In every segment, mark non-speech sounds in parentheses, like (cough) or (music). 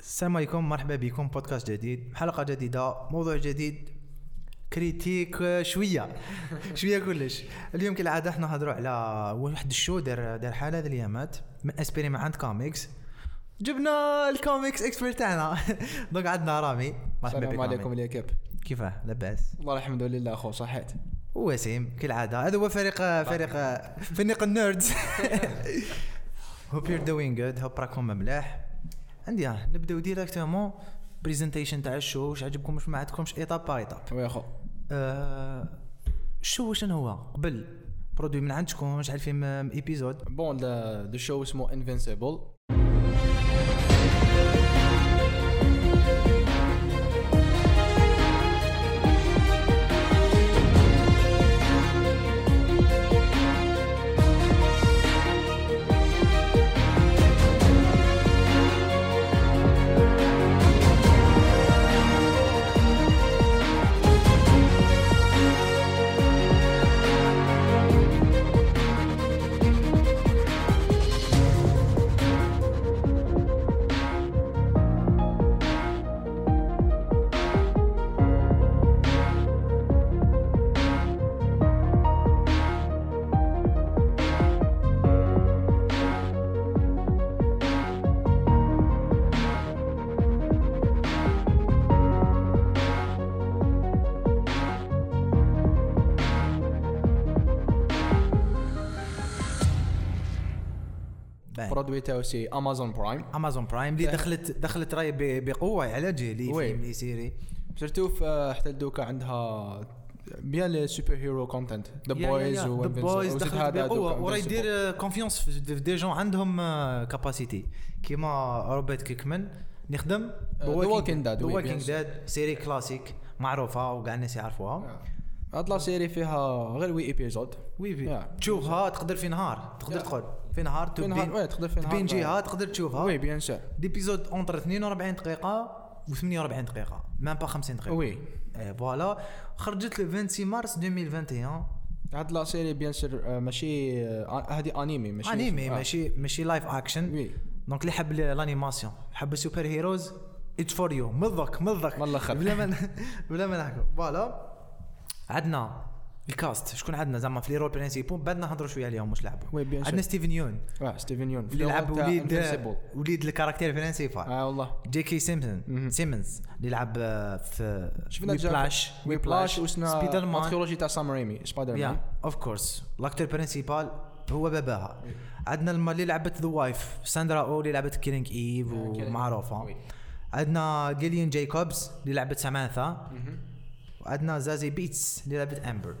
السلام عليكم مرحبا بكم بودكاست جديد حلقة جديدة موضوع جديد كريتيك آه، شوية (laughs) شوية كلش اليوم كالعادة حنا نهضروا على واحد الشو دار دار حالة هاد اليامات من اسبريم عند كوميكس جبنا الكوميكس اكسبيرت تاعنا (laughs) دونك عندنا رامي مرحبا بك السلام عليكم رامي. اليكب كيفاه لاباس والله الحمد لله اخو صحيت وسيم كالعادة هذا هو فريق فريق فريق النيردز هوب يور دوينغ جود هوب راكم مملاح عندي آه، ها نبداو ديريكتومون بريزنتيشن تاع الشو واش عجبكم واش ما عجبكمش ايطاب باي ايطاب ويا اخو آه، الشو شنو هو قبل برودوي من عندكم آه، شحال فيه من ايبيزود بون ذا شو اسمه انفنسيبل برودوي تاعو سي امازون برايم امازون برايم اللي دخلت دخلت راي ب- بقوه على جيلي وي. فيلم لي سيري سيرتو ف- آه، حتى دوكا عندها بيان لي سوبر هيرو كونتنت ذا بويز ذا بويز دخلت بقوه وراه يدير كونفيونس آه، في في دي جون عندهم كاباسيتي كيما روبرت كيكمان نخدم آه، The Walking Dead، وي، ووكينج bien داد سيري كلاسيك معروفه وكاع الناس يعرفوها هاد لا سيري فيها غير وي ايبيزود وي في Yeah. تشوفها تقدر في نهار تقدر Yeah. تقول في نهار في نهار- تبين وي، تقدر في نهار. تبين جهه تقدر تشوفها وي بيان سور ديبيزود اونتر 42 دقيقه و48 دقيقه مام با 50 دقيقه وي إيه، فوالا خرجت لو 26 مارس 2021 هاد لا سيري بيان سور ماشي آه، هادي انيمي ماشي انيمي آه. ماشي ماشي لايف اكشن وي دونك اللي حب الانيماسيون حب السوبر هيروز اتس فور يو من ذاك من ذاك من الآخر. بلا ما (laughs) ن- بلا ما نحكوا فوالا عندنا الكاست شكون عندنا زعما في لي رول برينسيبو بعد نهضروا شويه عليهم واش لعبوا وي، بيان عندنا سور. ستيفن يون واه ستيفن يون اللي لعب وليد انفنسيبل وليد الكاركتير برينسيبال اه والله جي كي سيمبسون سيمنز اللي لعب آه، في شفنا وي جا- بلاش وي بلاش وسنا سبيدر مان التريولوجي تاع سام ريمي سبايدر مان يا اوف كورس لاكتور برينسيبال هو باباها إيه. عندنا الم- اللي لعبت ذا وايف ساندرا او اللي لعبت كيلينج ايف آه، Killing ومعروفه Eve. عندنا جيليان جايكوبز اللي لعبت سامانثا وعندنا زازي بيتس اللي لعبت امبر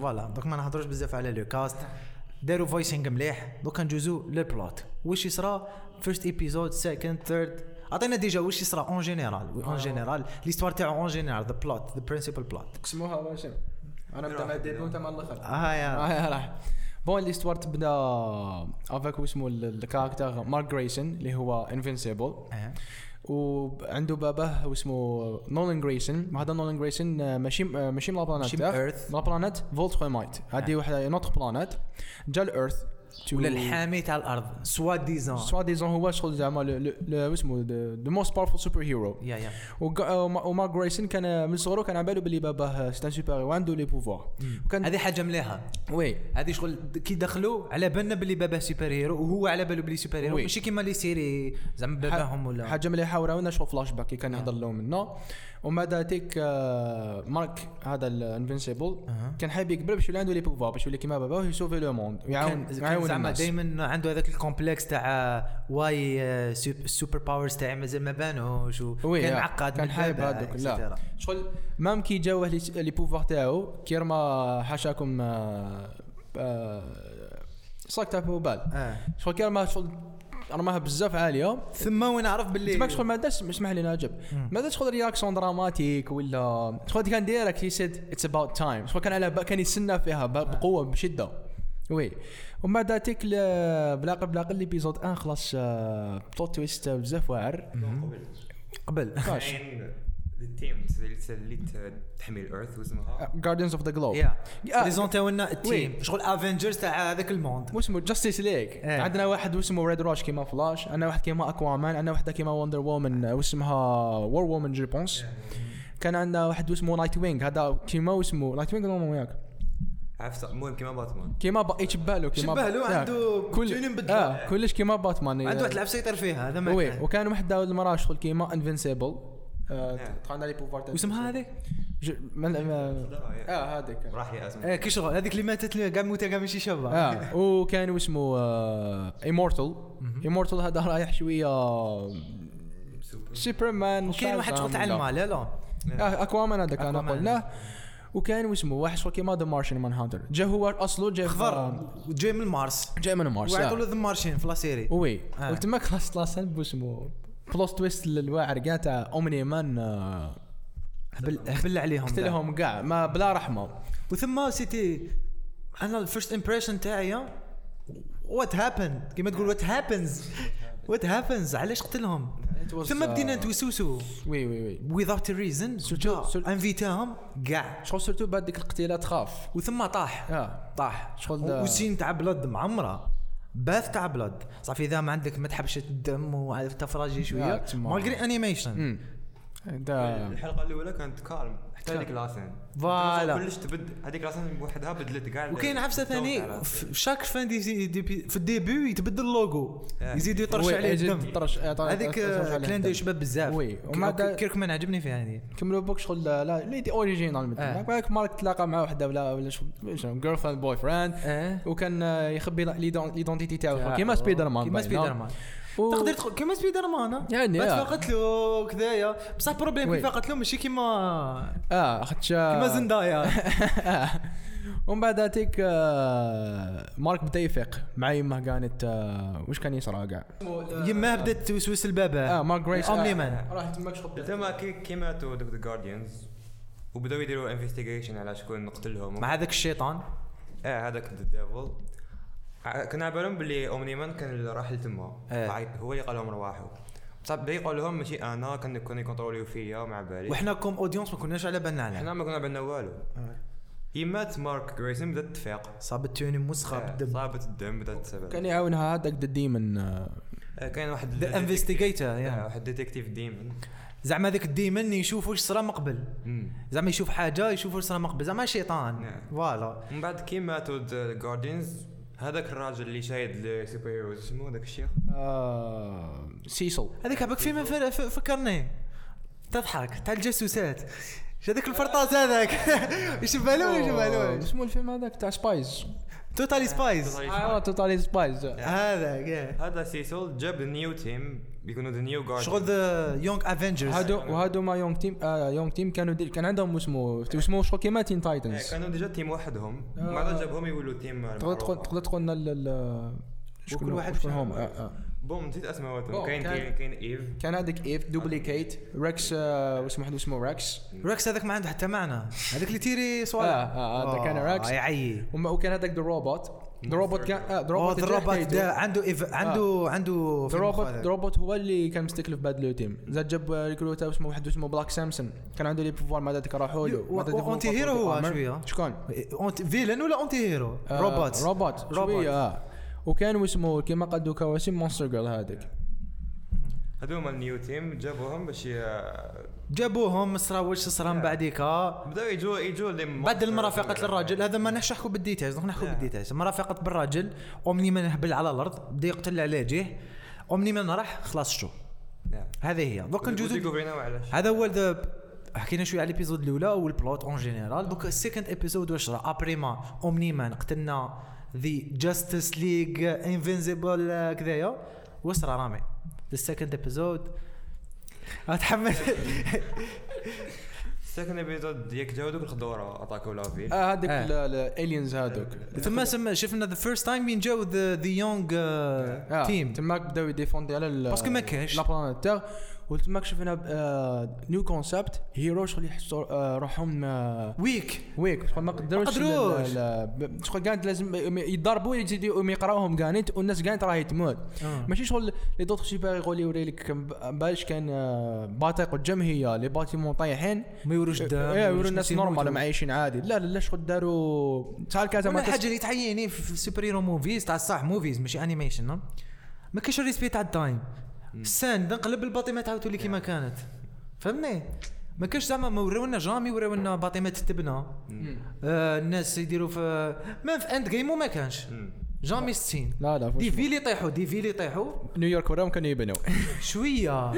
فوالا دوك ما نهضروش بزاف على لو كاست داروا فويسينغ مليح دوك نجوزو للبلوت واش يصرى فيرست ايبيزود سكند ثيرد عطينا ديجا واش يصرى اون جينيرال آه. اون جينيرال ليستوار تاعو اون جينيرال ذا بلوت ذا برينسيبل بلوت سموها واش انا نبدا مع الديبي وانت مع الاخر اه يا اه راح بون الاستوار تبدا افاك واسمه الكاركتر مارك جريسون اللي هو انفنسيبل آه. وعنده باباه واسمه نولان جريسون هذا نولان جريسون آه، ماشي آه، ماشي من لابلانات ماشي من Earth. لا بلانات فولترومايت هذه واحده نوتر بلانات جا الارث ولا الحامي تاع الارض سوا ديزون سوا ديزون هو شغل زعما ل- ل- ل- اسمه ذا موست باورفول سوبر هيرو يا يا ومارك جريسون كان من صغره كان على باله باللي باباه آه، سيتان سوبر هيرو عنده لي بوفوار وكان هذه حاجه مليحه وي هذه شغل كي دخلوا على بالنا باللي باباه سوبر هيرو وهو على باله بلي سوبر هيرو وي. ماشي كيما لي سيري زعما باباهم ولا حاجه مليحه وراونا شو فلاش باك كي كان نعم. يهضر لهم منه ومن بعد تيك آه، مارك هذا الانفنسيبل أها. كان حاب يكبر باش يولي عنده لي بوفوار باش يولي كيما باباه ويسوفي لو موند كان- ويعاون كان يعاون زعما الناس دائما عنده هذاك الكومبلكس تاع آه، واي آه، سوب- السوبر باورز تاعي مازال ما بانوش وي، وكان يا. معقد كان من حايب باباه، هذوك لا etc. شغل مام كي جاوه لي- لي بوفوار تاعو كي رمى حاشاكم آه، آه، صاك تاع بال آه. شغل كي رماها شغل رماها بزاف عاليه ثم وين عرف باللي تماك شغل ما داش اسمح لي ناجب ما داش شغل رياكسيون دراماتيك ولا شغل كان ديريكت هي سيد اتس اباوت تايم شغل كان على با- كان يسنى فيها ب- بقوه بشده وي ومن بعد هذيك ل- بلاقي بلاقي ليبيزود 1 آه، خلاص بلوت تويست بزاف واعر قبل فاش عين التيم اللي تحمي الارث آه، واسمها جاردنز اوف ذا جلوب يا آه. بريزونتيو لنا التيم وي. شغل افنجرز تاع هذاك الموند واسمه جاستيس ليج إيه. عندنا واحد اسمه ريد روش كيما فلاش عندنا واحد كيما اكوامان عندنا واحده كيما وندر وومن واسمها وور وومن جيبونس كان عندنا واحد اسمه نايت وينج هذا كيما اسمه نايت وينج ولا ما وياك عرفت المهم كيما باتمان كيما با ايش بالو كيما شبه له آه. عنده جيني كل مبدلة. آه كلش كيما باتمان عنده واحد لعب سيطر فيها هذا ما وي كان. وكان وحده المراه شغل كيما آه، انفنسيبل آه. إيه. عندها لي بوفار واسمها هذيك؟ ج- ما- ما- صدق، يا. آه، اه هذيك راح يا ازمه ايه كي شغل هذيك اللي ماتت اللي قاع موتها قاع ماشي شابه اه وكان واسمه ايمورتال ايمورتال هذا رايح شويه سوبر سوبرمان وكاين واحد شغل تاع المال لا لا اكوامان آه، هذا كان Aquaman. قلناه وكان واسمه واحد شغل كيما ذا مارشن مان هانتر جا هو اصله جاي اخضر جاي من مارس جاي من مارس وعيطوا له آه. ذا مارشين في لا سيري وي آه. وتما خلاص خلاص باسمه بلوس تويست للواعر كاع تاع اومني مان آه، هبل هبل عليهم قلت كاع. لهم كاع ما بلا رحمه وثم سيتي انا الفيرست امبريشن تاعي وات هابند كيما تقول وات هابنز وات هابنز علاش قتلهم was, ثم uh, بدينا نتوسوسو وي وي وي without a reason سر- جا انفيتاهم كاع شغل سورتو بعد ديك القتيله تخاف وثم طاح اه طاح شغل و- دا- وسين تاع بلاد معمره باث تاع بلاد صافي اذا ما عندك ما تحبش الدم وعارف تفرجي آه، شويه تما. مالغري انيميشن امم دا الحلقه الاولى كانت كالم حتى هذيك لاسين إيه. فوالا. كلش تبدل هذيك لاسين بوحدها بدلت كاع وكاين عفسه ثاني في شاك فان دي سي- دي بي- في الديبي يتبدل اللوجو آه. يزيدوا يطرشوا وي، عليه يزيد الدم يطرش- آه، طرش- هذيك يطرش عليه كلان الدم. ديو شباب بزاف وي، وك- ومع دا- وك- كيركمان عجبني فيها هذه كملوا بوك شغل لا لا ليدي اوريجينال مثلا آه. بالك مارك تلاقى مع وحده ولا ولا شغل جيرل فريند بوي فريند اه وكان آه، يخبي لا- ليدون- ليدونتيتي تاعو كيما سبايدر مان كيما باينة. سبايدر مان و- تقدر تقول كيما سبايدر مان يعني، آه. فاقت له كذايا بصح بروبليم وي. كيف فاقت له ماشي كيما اه خدش آه، كيما زندايا آه. (laughs) ومن بعد هذيك آه، مارك بدا يفيق مع يمه كانت آه، واش كان يصرى كاع يما بدات توسوس البابا اه مارك جريس اومني مان راح تماك شغل تما كي كي ماتوا دوك ذا جارديانز وبداو يديروا انفستيغيشن على شكون قتلهم مع هذاك الشيطان اه هذاك ذا ديفل كان على بالهم باللي اومني مان كان اللي راح لتما إيه. عيط- هو اللي قال لهم رواحوا بصح بدا يقول لهم ماشي انا كان كانوا يكونتروليو فيا مع بالي وحنا كوم اودينس ما كناش على بالنا عليه حنا ما كنا بالنا والو يمات مارك جريسون بدات تفيق صابت توني مسخه آه، بالدم صابت الدم بدات تسبب كان يعاونها هذاك ذا ديمون آه، كاين واحد ذا ديتكتيف- آه، انفستيغيتور واحد ديتكتيف ديمون زعما ذاك الديمن يشوف واش صرا من قبل زعما يشوف حاجه يشوف واش صرا من قبل زعما شيطان نعم. فوالا من بعد كي ماتوا ذا جاردينز هذاك الراجل اللي شايد السوبر هيروز اسمه ذاك الشيخ آه، سيسل هذيك عباك فيما فر- ف- فكرني تضحك تاع الجاسوسات ش هذاك الفرطاس هذاك (laughs) يشبالو ولا يشبالوش اسمه الفيلم هذاك تاع سبايز توتالي سبايس (laughs) اه توتالي سبايز هذاك إيه. هذا سيسول جاب نيو تيم بيكونوا ذا نيو جاردينز شغل ذا يونغ افنجرز هادو وهادو ما يونغ تيم آه يونغ تيم كانوا دير كان عندهم اسمه اسمه شو كيما تين إيه، تايتنز كانوا ديجا تيم وحدهم آه. بعد جابهم يولوا تيم تقدر معروف. تقول تقدر تقول لنا ال- ال- شكون واحد شكون شنو هم هو. آه آه. بوم نسيت اسماء بوم، كاين كان- كاين كاين ايف كان عندك ايف دوبليكيت ريكس آه، واسمه واحد اسمه ريكس ركس هذاك ما عنده حتى معنى هذاك اللي تيري اه سوالف آه، هذا كان Oh, ريكس يعيي وما- وكان هذاك ذا روبوت ذا روبوت كان اه ذا اوه روبوت ذا روبوت Oh, ده عنده إيف... آه. عنده عنده في ذا روبوت مخه هذاك. ذا روبوت هو اللي كان مستكلف باد لو تيم زاد جاب ريكروتا اسمه واحد اسمه بلاك سامسون كان عنده لي بوفوار ما داتك راحوا له و- ما داتك و- وأنت هيرو بوفوار هو في الأمر. شوية. آه، شكون؟ أنت فيلن ولا اونتي هيرو آه، روبوت روبوت روبوت. شوية آه. وكان اسمه كما قال دوكا واسم مونستر جيرل هذاك هذو هما النيو تيم جابوهم باش ي- جابوهم صرا واش صرا من بعديكا بداو يجوا يجوا لي بعد المرافقة للراجل هذا ما نحش نحكوا بالديتاج نحن نحكوا نعم. بالديتاج مرافقة بالراجل اومني من هبل على الارض بدا يقتل عليه جيه اومني من راح خلاص شو هذه هي دوكا نجوزو كوفرينا وعلاش هذا هو ال- حكينا شويه على الابيزود الاولى والبلوت اون جينيرال دوك السيكند ابيزود واش راه ابري ما اومني مان قتلنا ذي جاستس ليغ انفينزيبل كذايا واش راه رامي ذا سيكند ابيزود اتحمل السكند ابيزود ياك جاو دوك الخضوره اتاكو لا فيل آه هذاك آه. الالينز هذوك ثم سما شفنا ذا فيرست تايم بين جاو ذا يونغ آه. تيم تماك بداو يديفوندي على Parce que ما كاش. لا بلانيت تاغ وتماك شفنا آه، نيو كونسبت هيرو شغل يحسوا آه، روحهم آه، ويك ويك شغل ما قدروش قدروش. ال- ال- شغل كانت لازم يضربوا يزيدوا يقراوهم كانت والناس كانت راهي تموت ماشي شغل لي دوتر سوبر يقول يوري لك كم- باش كان آه، باتيق قدام هي لي باتيمون طايحين ما يوروش الدم ما ايه يوروش يورو الناس يموتوا. نورمال عايشين عادي لا لا لا شغل داروا تعال ولا كذا ما الحاجه تس- اللي تعيني في في سوبر هيرو موفيز تاع صح موفيز ماشي انيميشن نعم ما كاينش الريسبي تاع التايم الساند نقلب الباطمه تعاود تولي كيما كانت فهمني ما كاش زعما ما وراونا جامي وراونا باطمه تتبنى آه الناس يديروا في ما في اند جيم وما كانش مم. جامي 60 لا لا دي فوش- فيلي طيحوا دي فيلي طيحوا نيويورك وراهم كانوا يبنوا شويه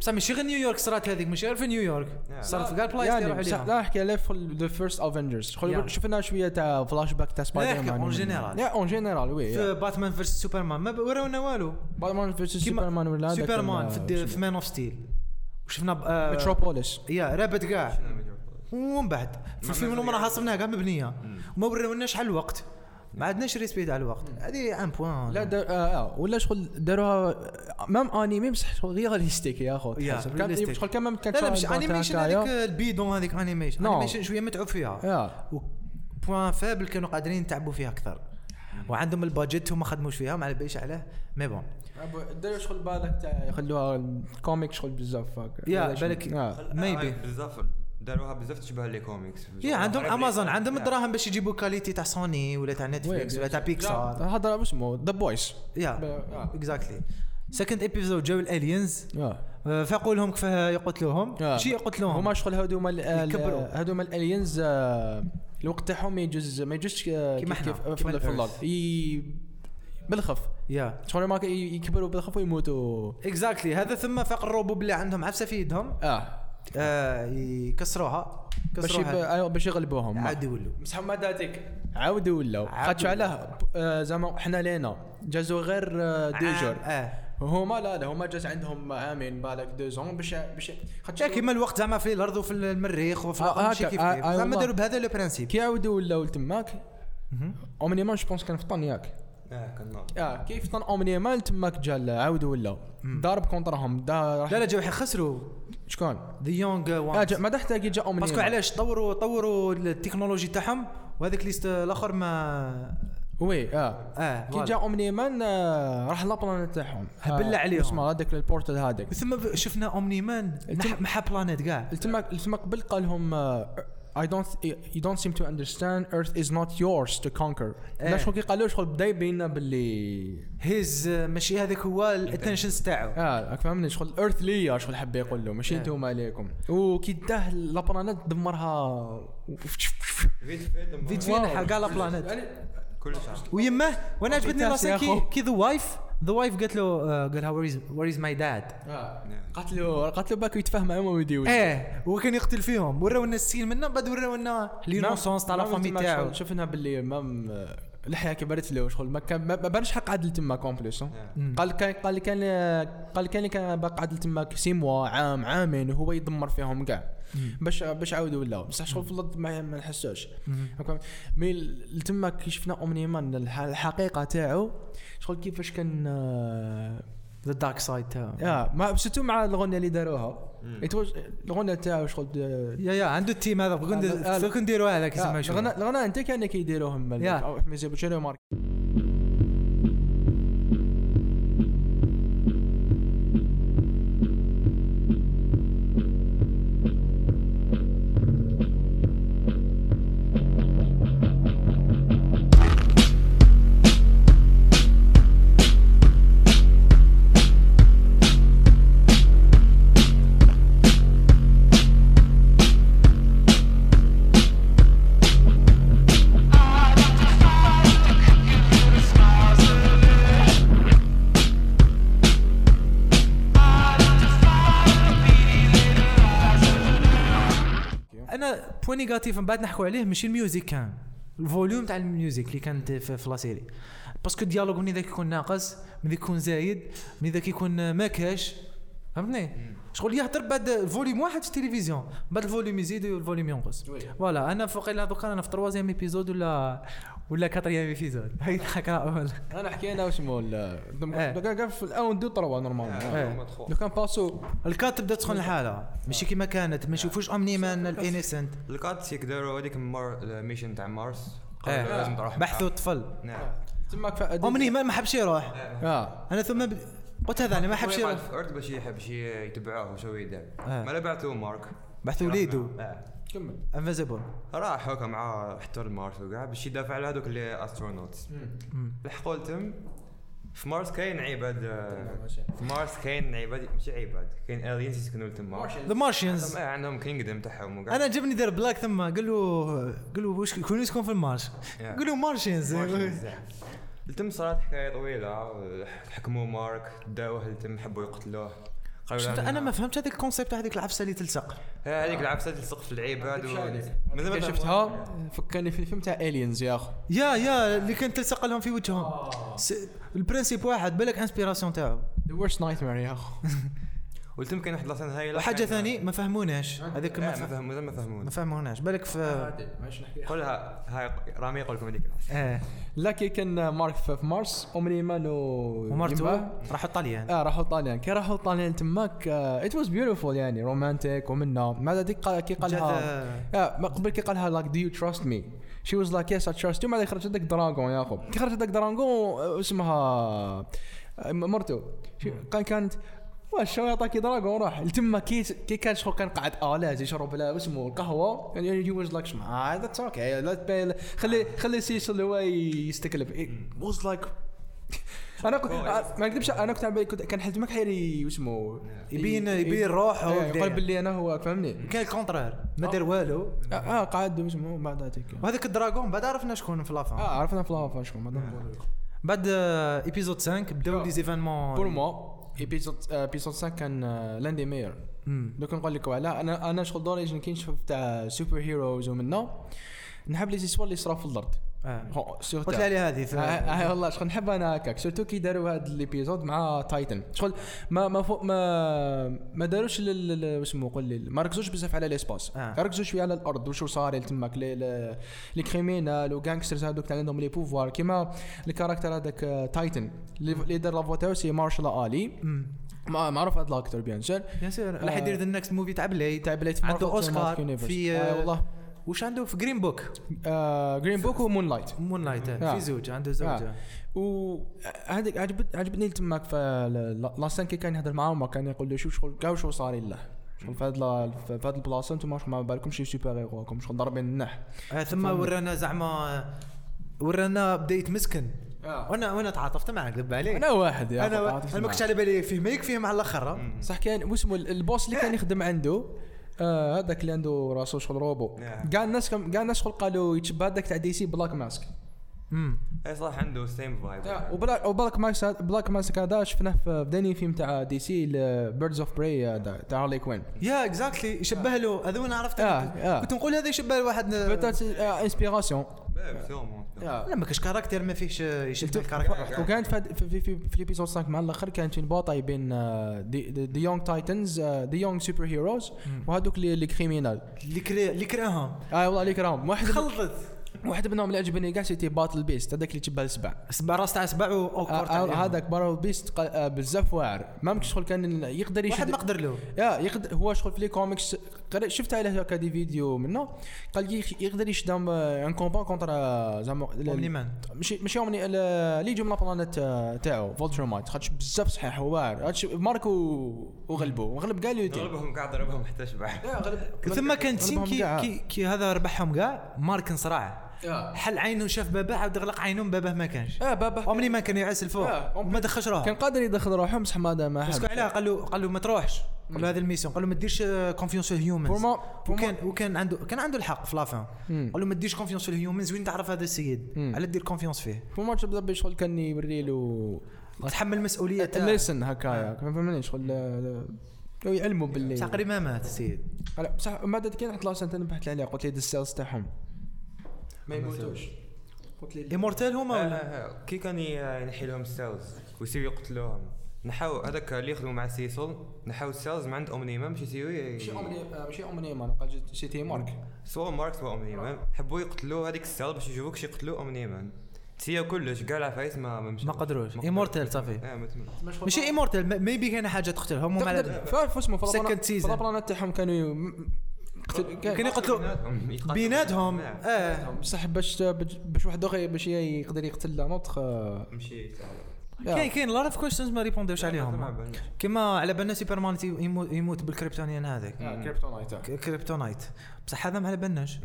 بصح ماشي غير نيويورك صرات هذيك ماشي غير في نيويورك Yeah. صارت في كاع البلايص اللي يعني يروحوا بصح- ليها لا احكي على ذا فيرست افنجرز Yeah. شفنا شويه تاع فلاش باك تاع يعني. سبايدر احكي مان on general. لا اون جينيرال وي في باتمان فيرس سوبرمان ما ب- وراونا والو باتمان فيرسس كيما- سوبرمان ولا آه، هذاك سوبرمان في الد- ال- في مان اوف ستيل وشفنا ب- آه، متروبوليس يا رابط كاع شنو مجرد؟ ومن بعد في الفيلم ما- اللي راه حاصلناها كاع مبنيه وما وروناش شحال الوقت ما عندناش ريسبيد على الوقت هذه ان بوان لا دار آه آه ولا شغل داروها مام انيمي بصح شغل غير رياليستيك يا خو يا، تحسب. realistic. كان شغل كان مام كان لا لا مش انيميشن هذيك البيدون هذيك انيميشن No. انيميشن شويه متعوب فيها يا و بوان فابل كانوا قادرين يتعبوا فيها اكثر وعندهم البادجت وما خدموش فيها ما على باليش عليه مي بون داروا شغل بالك تاع يخلوها كوميك شغل بزاف هكا يا بالك آه. ميبي آه، بزاف داروها بزاف تشبه لي كوميكس يا عندهم امازون عندهم Yeah. الدراهم باش يجيبوا كاليتي تاع سوني ولا تاع نتفليكس ولا تاع بيكسار هذا اسمه ذا بويس يا آه. اكزاكتلي سكند ابيزود جاو الالينز يا آه، فقوا لهم كيفاه يقتلوهم آه. شي يقتلوهم هما شغل هذوما ال- ال- يكبروا. هذوما الالينز آه، الوقت تاعهم ما يجوز ما يجوزش آه، كيما كيف- حنا، كيف- آه، كيما في- في الأرض. الارض ي- بالخف يا شغل ما ك- ي- يكبروا بالخف ويموتوا اكزاكتلي هذا ثم فاق الروبو بلي عندهم عفسه في يدهم اه آه، يكسروها باش يب- كسروها آه، باش يغلبوهم عاد يولوا بصح هما داتك عاودوا ولاو خاطش علاه ب- آه، زعما حنا لينا جازوا غير آه، دي جور عام، اه هما لا لا هما جات عندهم عامين بالك دو زون باش باش خاطش شا كيما الوقت زعما في الارض وفي المريخ وفي آه، الأرض، ماشي هكا، كيف آه، كيف آه، زعما والله. داروا بهذا لو برانسيب كي عاودوا ولاو لتماك اومنيمان جو بونس كان في طن ياك اه كان ناضي. اه كيف طن اومنيا مال تماك جا عاودوا ولا ضارب كونترهم دا لا لا جاو يخسروا شكون ذا يونغ لا وان آه، جا ما تحتاج جا اومنيا باسكو علاش طوروا طوروا التكنولوجي تاعهم وهذاك ليست الاخر ما وي اه اه كي جا فوالا. اومنيا مان آه، راح لابلانيت تاعهم هبل عليهم. اسمه هذاك البورتال هذاك وثم شفنا اومني مان التم- مح- محا بلانيت كاع تماك تماك قبل قال لهم آه، اي دونت يو دونت سيم تو اندرستاند ايرث از نوت يورز تو كونكر إيه. لا شغل كي قالوا شغل بدا يبين لنا باللي هيز آه، ماشي هذاك هو الاتنشنز تاعو اه راك فهمني شغل ايرث ليا شغل حب يقول له ماشي آه. انتم عليكم وكي داه لابلانيت دمرها فيت فيت فيت فيت فين كاع لا بلانيت كل شيء ويماه وانا عجبتني فانتاسي يا راسي كي أخو. كي ذا وايف ذا وايف قالت له آه، قالها وير از ماي داد نعم. قتلوا قتلوا آه. باكو يتفاهم معاهم ويديو ايه هو كان يقتل فيهم وراونا السين منه بعد وراونا نعم. لينوسونس تاع لا فامي تاعو شفنا باللي مام اللحيه كبرت له شغل ما كان ما ما بانش حق عدل تما كومبليس Hmm. قال كان قال كان قال كان كان باقي عدل تما سي موا عام عامين وهو يدمر فيهم كاع باش باش عاودوا ولاو بصح شغل في الارض ما ما نحسوش هاكا. مي ل- تما كي شفنا اومني مان الح- الحقيقه تاعو شغل كيفاش كان آه، ذا دارك سايد تاعو اه ما سيتو مع الاغنيه اللي داروها إيه، يتوج- الاغنيه تاعو شغل د- يا يا عنده التيم هذا بغون آه، آه. بغون نديروها هذاك آه، يسمى شو الغناء الغناء انت كان كيديروهم يا. ميزيبو شنو مارك انا بوان نيجاتيف من بعد نحكوا عليه ماشي الميوزيك كان الفوليوم تاع الميوزيك اللي كانت في في لاسيري باسكو الديالوج من ذاك يكون ناقص من ذاك يكون زايد من ذاك يكون ما كاش فهمتني شغل يهضر بعد الفوليوم واحد في التلفزيون بعد الفوليوم يزيد والفوليوم ينقص وي. فوالا انا فوق الى دوكا انا في تروازيام ايبيزود ولا ولا كاتريام ايبيزود (laughs) هاي تضحك راه انا حكينا وشمو إيه. في الاون دو تروا نورمال إيه. المقطع لو كان باسو الكاتب بدها تدخل لحالها ماشي كيما كانت ما يشوفوش امنيمان الانيسنت الكات يقدروا هذيك مار الميشن تاع مارس قالوا إيه. لازم تروح بحثوا الطفل نعم تماك امنيمان ما حبش يروح اه انا ثم ب- قلت هذا انا ما حبش هو يقعد يروح في الارض باش يحب شي يتبعوه وشو يدير إيه. ما لا بعثوا مارك بحثوا وليدو إيه. كمل انفيزيبل راح هكا مع احتر مارس وكاع باش يدافع على هذوك اللي استرونوتس لحقوا لتم في مارس كاين عباد آه، في مارس كاين عباد ماشي عباد كاين الينز يسكنوا تما ذا مارشيانز عندهم- آه، عندهم كينجدم تاعهم وكاع انا عجبني دير بلاك ثم قال له قال له واش كون يسكن في المارش Yeah. قال له مارشيانز التم صارت حكايه طويله حكموا مارك داوه التم حبوا يقتلوه قالوا شفت له انا ما فهمتش هذاك الكونسيبت تاع هذيك العفسه اللي تلصق آه، هذيك العفسه تلصق في العباد و- من زمان كي شفتها فكرني في الفيلم تاع الينز يا اخو يا يا اللي كانت تلصق لهم في وجههم آه. س- البرنسيب واحد بالك انسبيراسيون تاعو ذا ورست نايت مير (laughs) يا اخو والتم كاين واحد لاسان هايله وحاجه كاين- ثانيه ما فهموناش هذيك آه، ما ما آه. فهم- فهموا ما ما فهمون فهموناش بالك في قولها هاي رامي يقول لكم هذيك ايه لا كي كان مارك في في مارس امني مانو ومرته يما- راحوا آه. طليان اه راحوا طاليان كي راحوا طاليان تماك آه، ات واز بيوتيفول يعني رومانتيك ومنا مع ذلك قال- كي قالها اه ما قبل كي قالها لايك دو يو تراست مي شي واز لايك يس اي تراست يو بعدين خرجت لك دراغون يا اخو كي خرجت لك دراغون آه، اسمها آه، م- مرتو شي- كان كانت واش شو يعطاك دراغون روح لتما كي كي كان شغل كان قاعد الاز يشرب لا اسمه القهوه يعني يو واز لايك شمع ذاتس اوكي لا تبين خلي خلي سيسل هو يستقلب واز لايك انا كنت آه، ما نكذبش انا كنت على بالي كنت- كان حلت ما كحيري واسمه يبين إيه. يبين روحه يقول وكدا. باللي انا هو فهمني كان الكونترير ما دار والو اه آه، قاعد اسمه بعد هذيك وهذاك الدراغون بعد عرفنا شكون في آه. لافان اه عرفنا في لافا شكون بعد بعد ايبيزود 5 بداو آه. لي زيفينمون بور موا ايبيزود ايبيزود 5 كان آه، لاندي مير دوك نقول لكم على انا انا شغل دوري جن كي نشوف تاع سوبر هيروز ومنا نحب لي زيسوار اللي صرا في الارض آه. هو- سيغ قلت تاع- لي على هذه آه آه، والله شغل نحب انا هكاك سيرتو كي داروا هذا الابيزود مع تايتن شغل ما ما فوق ما ما داروش لل- لل- واسمو قول لي ما ركزوش بزاف على ليسباس آه. ركزوا شويه على الارض وشو صار تماك لي- لي- لي كريمينال وغانكسترز هذوك تاع عندهم لي بوفوار كيما الكاركتر هذاك آه، تايتن اللي اللي دار لافوا تاعو سي مارشال الي ما- معروف هذا الاكتر بيان سير بيان سور راح آه. يدير ذا نكست موفي تاع بليد تاع بليت عنده أوسكار في- آه والله آه، وش آه. عنده في جرين بوك جرين بوك ومون لايت مون لايت آه. في زوج عنده زوجه آه. وهذيك عجبت عجبتني تماك في لاسان كي كان يهضر معاهم كان يقول له شوف شغل كاع شو صار له شغل في هذا في هذا البلاصه انتم ما بالكم شي سوبر هيروكم شغل ضاربين النح آه، ثم ورانا زعما ورانا بدا يتمسكن وانا وانا تعاطفت معاه نكذب عليك انا واحد آه. يا انا أخو، و... تعرف انا ما كنتش على بالي فيه ميك فيه مع الاخر مم. صح كان واسمه ال- البوس اللي كان يخدم عنده آه، هذاك اللي عنده راسه شغل روبو نعم. كاع الناس كم- كاع الناس شغل قالوا يتشبه هذاك تاع دي سي بلاك ماسك امم اي صح إيه، عنده سيم فايب وبلاك وبلاك ماسك بلاك ماسك هذا شفناه في بداني فيلم تاع دي سي بيردز اوف براي تاع هارلي كوين يا اكزاكتلي يشبه له هذا وين عرفت آه، آه. كنت نقول هذا يشبه لواحد انا بيتات انسبيراسيون ما كاش كاركتير ما فيهش آه، يشبه الكاركتير وكانت في في في, في, في الابيزود 5 مع الاخر كانت في نباطه بين euh, ذا يونغ تايتنز ذا يونغ سوبر هيروز وهذوك اللي اللي كريمينال اللي كري- اللي كرههم اه والله عليك راهم واحد خلطت واحد منهم اللي عجبني كاع سيتي باتل بيست هذاك اللي تبع السبع سبع راس تاع سبع و- أو آه، كورت آه، عليهم. هذاك باتل بيست بزاف واعر ما ممكن شغل كان يقدر واحد يشد ما قدر له يا يقدر هو شغل في لي كوميكس قرأ- شفت عليه هكا دي فيديو منه قال لي يقدر يشدم ان كومبا كونتر euh, اومني زعما مان ماشي ماشي اومني ال- ليجيو من لابلانيت آه، تاعو فولترومايت خاطش بزاف صحيح هو واعر هادش ماركو وغلبو وغلب كاع لو تيم ضربهم كاع ضربهم حتى شبع ثم كان سين غلبهم كي, قاع. كي, كي هذا ربحهم كاع مارك انصراع آه. حل عينه شاف باباه عاود غلق عينه باباه ما كانش اه بابا اومني مان كان يعس الفوق آه، وما دخلش روحه كان قادر يدخل روحه بصح ما ما مسكوا عليها قال له قال له ما تروحش قال له هذا الميسيون قال له ما ديرش كونفيونس في الهيومنز فورما فورما وكان وكان عنده كان عنده الحق في لافان مم. قال له ما ديرش كونفيونس في الهيومنز وين تعرف هذا السيد مم. على دير كونفيونس فيه فورما تبدا بشغل كان يوري له تحمل المسؤوليه تاعه ليسن هكايا فهمني شغل آه، لو يعلموا باللي تقريبا مات السيد لا بصح ما درت كي رحت لاسان تنبحت عليها قلت لي دي السيلز تاعهم ما يموتوش قلت لي آه، ايمورتال هما ولا كي كان ي- ينحي لهم الساوز ويسيو يقتلوهم نحاو هذاك اللي يخدموا مع سيسول نحاو السيلز من عند اومنيما باش يسيو ي- ماشي اومني ماشي اومني مان قال جت سي تي مارك سوا ماركس سوا اومنيما حبوا يقتلوا هذيك السيل باش يشوفوك شي يقتلوا اومنيما تسيا كلش كاع العفايس ما ما آه. مشاو. ما قدروش. ما Immortal قدروش. صافي. اه ما تم- ماشي ايمورتال ميبي كاين حاجه تقتلهم هما لا- تقدر فاش اسمه Second season. فلابلانات تاعهم كانوا ي- م- قتل- كان كان- يقتلوا بيناتهم يقاتلوا بيناتهم نعم. اه بصح باش باش باش واحد اخر باش يقدر يقتل لا نوتخ آه، مشي كاين كاين لارا اوف كويستشنز ما ريبوندوش عليهم كما على بالنا سوبرمان يمو- يموت بالكريبتونيان هذاك آه، كريبتونايت آه. ك- كريبتونايت بصح هذا ما على بالناش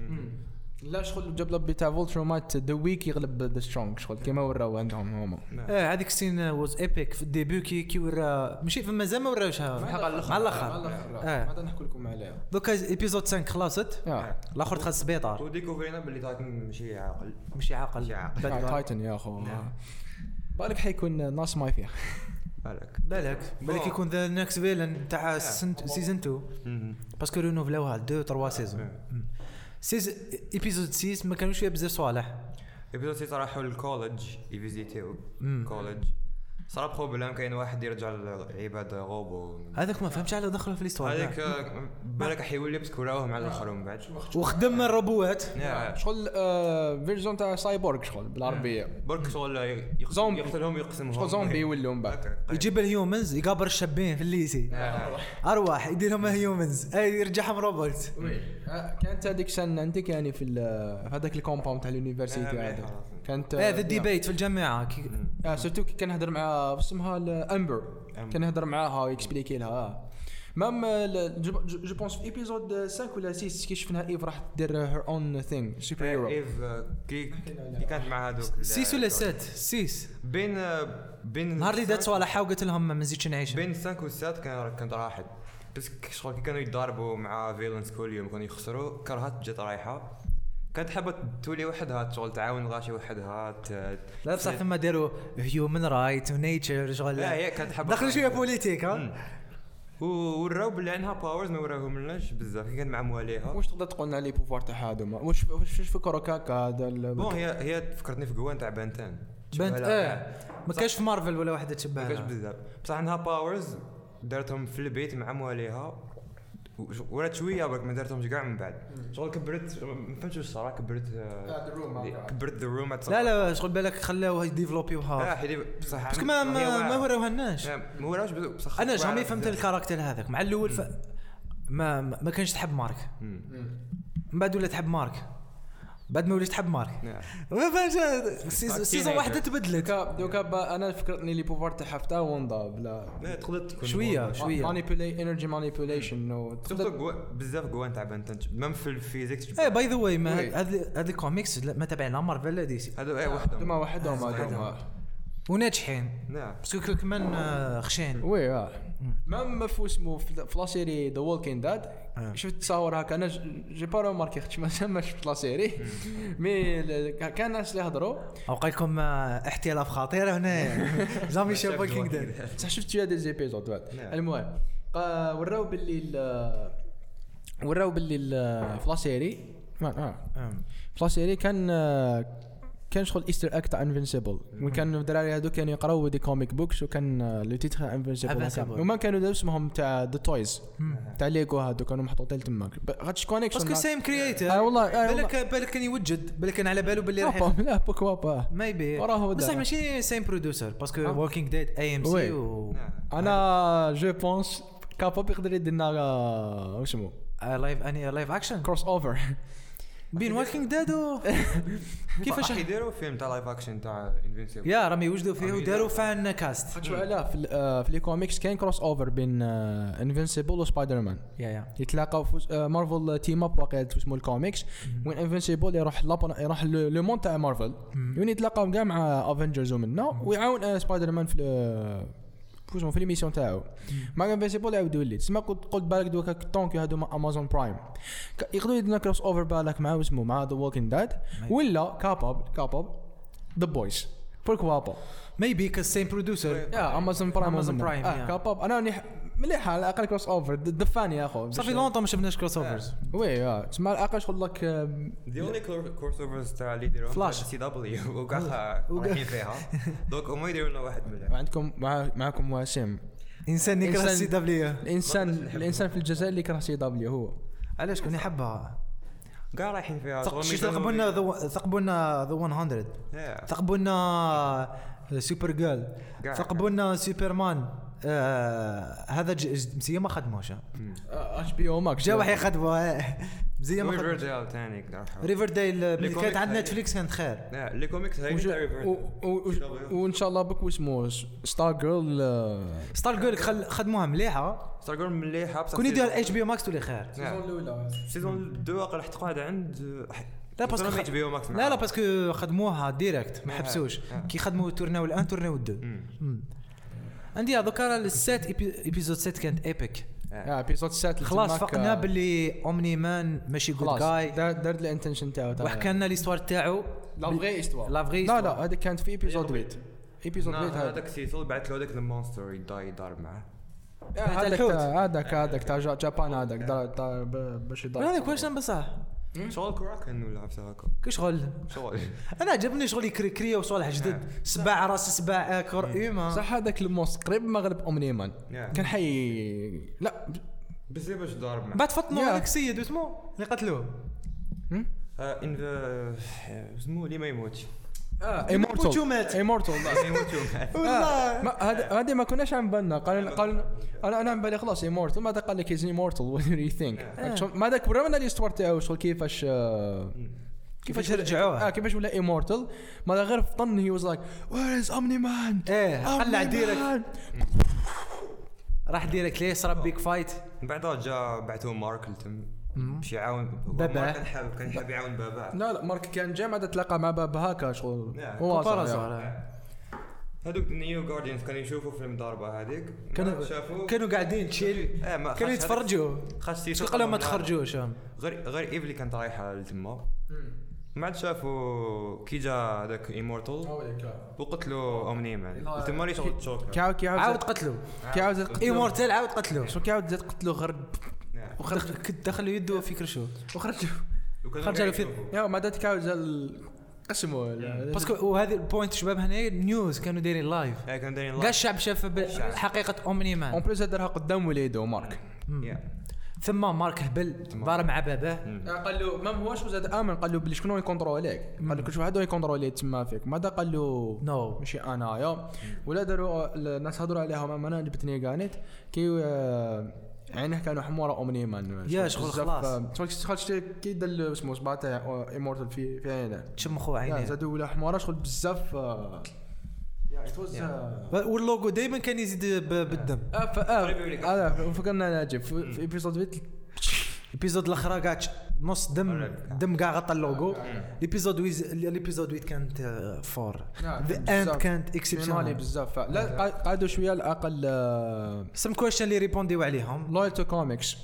لا شغل جاب لب بتاع فولترومات ذا ويك يغلب ذا سترونج شغل كيما وراو عندهم هما اه هذيك السين واز ايبيك في الديبي كي كي ورا ماشي فما زال ما وراوشها مع الاخر آه. هذا نحكي لكم عليها دوكا ايبيزود 5 خلصت يا الاخر دخل السبيطار وديكوفرينا باللي تاكن ماشي عاقل ماشي عاقل ماشي عاقل. بد- تايتن يا اخو نعم. بالك حيكون ناس ما فيها بالك بالك بالك بون. يكون ذا نكست فيلن تاع سيزون 2 مهم. باسكو رينوفلاوها 2 3 سيزون سيز ايبيزود 6 ما كانوش فيها بزاف صوالح يبدو تيطرحوا للكولج يفيزيتيو كولج صرا بروبليم كاين واحد يرجع لعباد غوبو هذاك ما فهمتش على دخلوا في طيب. ليستوار هذيك آه، بالك حيولي باسكو راوه مع الاخر من بعد وخدم الروبوات يا، شغل فيرجون تاع سايبورغ شغل بالعربيه برك شغل يقسم- زومبي. يقتلهم يقسمهم شغل زومبي يولوا من بعد هكا. يجيب الهيومنز يقابر الشابين في الليسي آه. ارواح يديرهم هيومنز اي يرجعهم روبوت آه، كانت هذيك سنة عندك يعني في ال- في هذاك الكومباوند تاع آه، اليونيفرسيتي مليح هذا عرفت. كانت ايه ذا ديبيت في الجامعه كي- اه سيرتو كي كان نهضر مع واش اسمها امبر كان نهضر معاها ويكسبليكي لها مام آه، جو بونس في ايبيزود 5 ولا 6 كي شفنا ايف راح دير هير اون ثينغ سوبر هيرو ايف آه، كي كي كانت مع هذوك سيس ولا سات سيس بين آه، بين نهار اللي دات السانك- صوالح وقلت لهم ما نزيدش نعيش بين 5 و 7 كان كنت راحت بس ك- شغل كي كانوا يتضاربوا مع فيلنس كل يوم كانوا يخسروا كرهت جات رايحه كانت حابه تولي وحدها شغل تعاون غاشي وحدها ت- لا بصح ثم داروا هيومن رايت ونيتشر شغل لا هي كانت حابه دخلوا شويه بوليتيك مم. ها و- وراو باللي عندها باورز ما وراهم لناش بزاف كي كانت مع مواليها واش تقدر تقول لنا لي بوفوار تاع هذوما واش واش واش فكروا كاكا هذا ال- بون هي هي فكرتني في جوان تاع بنتان بنت شبه لها كاع. اه ما كاش في مارفل ولا واحده ما تشبه كانش لها. بزاف بصح عندها باورز دارتهم في البيت مع مواليها وش- ورات شويه برك ما دارتهمش كاع من بعد شغل كبرت ما فهمتش واش صرا كبرت آه، لا، the room هكا. كبرت ذا روم لا لا شغل بالك خلاوها يديفلوبيوها لا حيدي بصح باسكو عم- ما آه. ما, هي ما واعرة. وراوهالناش لا، ما وراوش بزاف، بصح انا واعرة جامي فهمت بزاف. الكاركتر هذاك مع الاول ف... ما ما ما كانش تحب مارك من بعد ولات تحب مارك بعد ما وليت تحب مارك نعم. ما فهمتش سيز- سيزون واحدة تبدلت دوكا دوكا با- انا فكرتني لي بوفوار تاعها تاع وندا بلا لا تقدر تكون شويه شويه مانيبيولي انرجي مانيبيوليشن سورتو جو- بزاف جوان تاع بنتان ميم في الفيزيكس تشوف- ايه باي ذا واي ما وي. هذ هذ الكوميكس لا- ما تابعين لا مارفل لا دي سي هادو ايه وحدهم هما وحدهم هذوما. هذوما وناجحين نعم باسكو كل- كمان آه، خشين وي اه مام ما في اسمه في في لا سيري ذا وولكين داد آه. شفت تصاور هكا انا ج- جي با روماركي خاطش ما (laughs) ما شفت لا سيري مي ال- كان ناس اللي هضروا اوقع لكم آه، احتيالات خطيره (laughs) هنا جامي شاف ووكينج ديد بصح شفت شويه دي زيبيزود بعد نعم. المهم قا- وراو باللي ال- وراو باللي ال- في لا سيري ما- آه. في لا سيري كان آه، كان شغل ايستر اك تاع انفنسيبل وكان الدراري هذو كانوا يقراو دي كوميك بوكس وكان آه، لو تيتر Invincible. انفنسيبل وما كانوا داو اسمهم تاع ذا تويز تاع ليغو هذو كانوا محطوطين تماك ب- غاتش كونيكشن باسكو سيم كرييتر آه والله، آه بالك بالك كان يوجد بالك كان على باله باللي راح بابا لا بوك بابا مايبي وراهو بصح دار. ماشي سيم برودوسر باسكو ووكينج ديد اي ام سي وي. و نعم. انا جو بونس كابوب يقدر يدير لنا آه، وش اسمه لايف اني لايف اكشن كروس اوفر بين ووكينج ديد و كيفاش كيفاش راح يديروا فيلم تاع لايف اكشن تاع انفنسيبل يا راهم يوجدوا فيه راهم وداروا فان كاست شو لا في ال- آه، في الكوميكس كان كروس اوفر بين آه، انفنسيبل وسبايدر مان يا يا يتلاقاو في وس- آه، مارفل تيم اب واقع اسمه الكوميكس وين انفنسيبل يروح لابن- يروح لو لو مون تاع مارفل وين يعني يتلاقاو كاع مع افنجرز ومنا ويعاون آه، سبايدر مان في ال- شو اسمه في الميسيون تاعو مع انفنسيبل يعاودوا لي تسمى قلت قلت بالك دوكا طونك هادو امازون برايم ك- يقدروا يديروا كروس اوفر بالك مع اسمه مع ذا ووكينج داد ولا كاباب كاباب ذا بويز بورك بابا مايبي كاز سيم برودوسر يا امازون برايم Amazon Prime, اه yeah. كاباب انا راني ح- مليحه على الاقل كروس اوفر دفاني يا اخو صافي لونطون ما شفناش كروس اوفرز وي اه تسمى على الاقل شغل لك آم، دي اونلي كورس اوفرز تاع اللي يديرهم Flash. (laughs) سي دبليو وكاع وكاع- رايحين فيها دوك هما يديروا لنا واحد منهم عندكم مع معكم وسيم انسان يكره إنسان- السي دبليو الانسان ما نحبه. الانسان في الجزائر اللي يكره سي دبليو هو علاش كون يحبها كاع رايحين فيها ثق- شي ثقبوا لنا ذو- ثقبوا لنا ذا 100 Yeah. ثقبوا لنا سوبر جيرل قاع- ثقبوا لنا سوبرمان آه، هذا ج- ج- مزيه ما خدموش آه. اش بي او ماكس جا واحد يخدموا آه. مزيه ما خدموش ريفرديل ثاني كاع راحوا. ريفرديل لي ملي كوميك كانت عند هاي. نتفليكس كانت خير Yeah، لي كوميكس نعم، هاي تاع ريفرديل وان شاء الله بك واسمه ستار جيرل آه، ستار جيرل خل- خدموها مليحه ستارجون مليحه بصح نعم. كون يدير اتش بي ماكس تولي خير نعم. الاولى سيزون 2 واقع راح تقعد عند لا باسكو خ- بي او ماكس لا لا باسكو خدموها ديريكت ما آه. حبسوش آه. كي خدموا تورناو الان تورناو الدو مم. عندي هذوك راه السات إيبي- ايبيزود 7 كانت ايبك اه بيزود سات خلاص فقنا باللي اومني مان ماشي جود آه. خلاص جاي دار- دارت الانتنشن تاعو تاع- وحكى لنا ليستوار تاعو لا فغي استوار لا فغي لا لا هذا كانت في ايبيزود 8 ايبيزود 8 هذا هذاك سيزون بعث له هذاك المونستر يضاي يضارب معاه تاع هذاك الحوت. تاع- هذاك هذاك تاع جا- جابان هذاك دار- دار ب- باش يضرب هذاك واش بصح شغل كراكن ولا عرفت هكا كي شغل (laughs) شغل انا عجبني شغل يكري كري وصوالح جدد سباع راس سباع كور ايما صح هذاك الموس قريب من مغرب اومني مان Yeah. كان حي لا بس باش ضارب معاه بعد فطنوا Yeah. هذاك السيد واسمو اللي قتلوه آه، ان ذا اسمه اللي ما يموتش (laughs) بوتشو مات. ايمورتال ما يموتش آه، (laughs) والله هذه ما كناش عم بالنا قال قال انا انا عم بالي خلاص ايمورتال ماذا قال لك از (laughs) ايمورتال وات دو يو ثينك ما ذاك برا من الاستوار تاعو شغل كيفاش آه، كيفاش آه. رجعوه اه كيفاش ولا ايمورتال ماذا غير في طن هي واز لايك وير از اومني مان ايه قلع ديريكت راح ديريكت ليه صرا بيك فايت من بعدها جا بعثوه مارك لتم باش يعاون بابا. مارك كان حابب كان حاب يعاون بابا لا لا مارك كان جا بعد تلاقى مع باب هاكا شغل نعم. هو كوبارا صار، يعني. صار، يا. آه. هذوك نيو جارديانز كانوا يشوفوا فيلم ضاربه هذيك كانوا شافوا كانوا قاعدين تشيل إيه، ما كانوا خش هذاك- يتفرجوا خش سيسو شكون قالوا ما لا. تخرجوش هم. غير غير ايفلي كانت رايحه لتما ما عاد شافوا كي جا هذاك Oh. ايمورتال وقتلوا اومني مان تما اللي شغل تشوكر كي كي عاود عاود قتلو كي عاود قتلو ايمورتال عاود قتلو إيه. شو كي عاود قتلو غرب نعم. وخرج كنت دخلوا يده في كرشو وخرج خرج له في- يا ما دات كي عاود قسموا باسكو وهذه البوينت شباب هنا نيوز كانوا دايرين لايف ايه كانوا دايرين كاع الشعب شاف ب- حقيقه اومني اون مان بليس دارها قدام وليده مارك ثم مارك هبل ضارب مع باباه قال له ما هوش زاد امن قال له بلي شكون يكونتروليك قال له كل واحد يكونترولي تما فيك ماذا قال له No. ماشي انايا ولا داروا الناس هضروا عليها ما انا جبتني قانت كي آه، عينه كانوا حمورة اومني مان يا شغل بزاف، خلاص. آه، شغل شغل شتي كي دار اسمه صباع تاع ايمورتال في في عينه تشمخوا يا عينيه زادوا ولا حمارة شغل بزاف آه، يا it was، آه، واللوجو دائما كان يزيد ب- بالدم اه ف- قريب يوليك. اه آه، فكرنا ناجي في في ايبيزود فيت الابيزود الاخرى كاع تش- نص دم دم كاع غطى اللوجو الابيزود ويز الابيزود ويت كانت آه، فور نعم، ذا اند بزاف. كانت فينالي اكسبشنال بزاف لا قا- قعدوا آه، شويه على الاقل سم كويشن اللي ريبونديو عليهم لويال تو كوميكس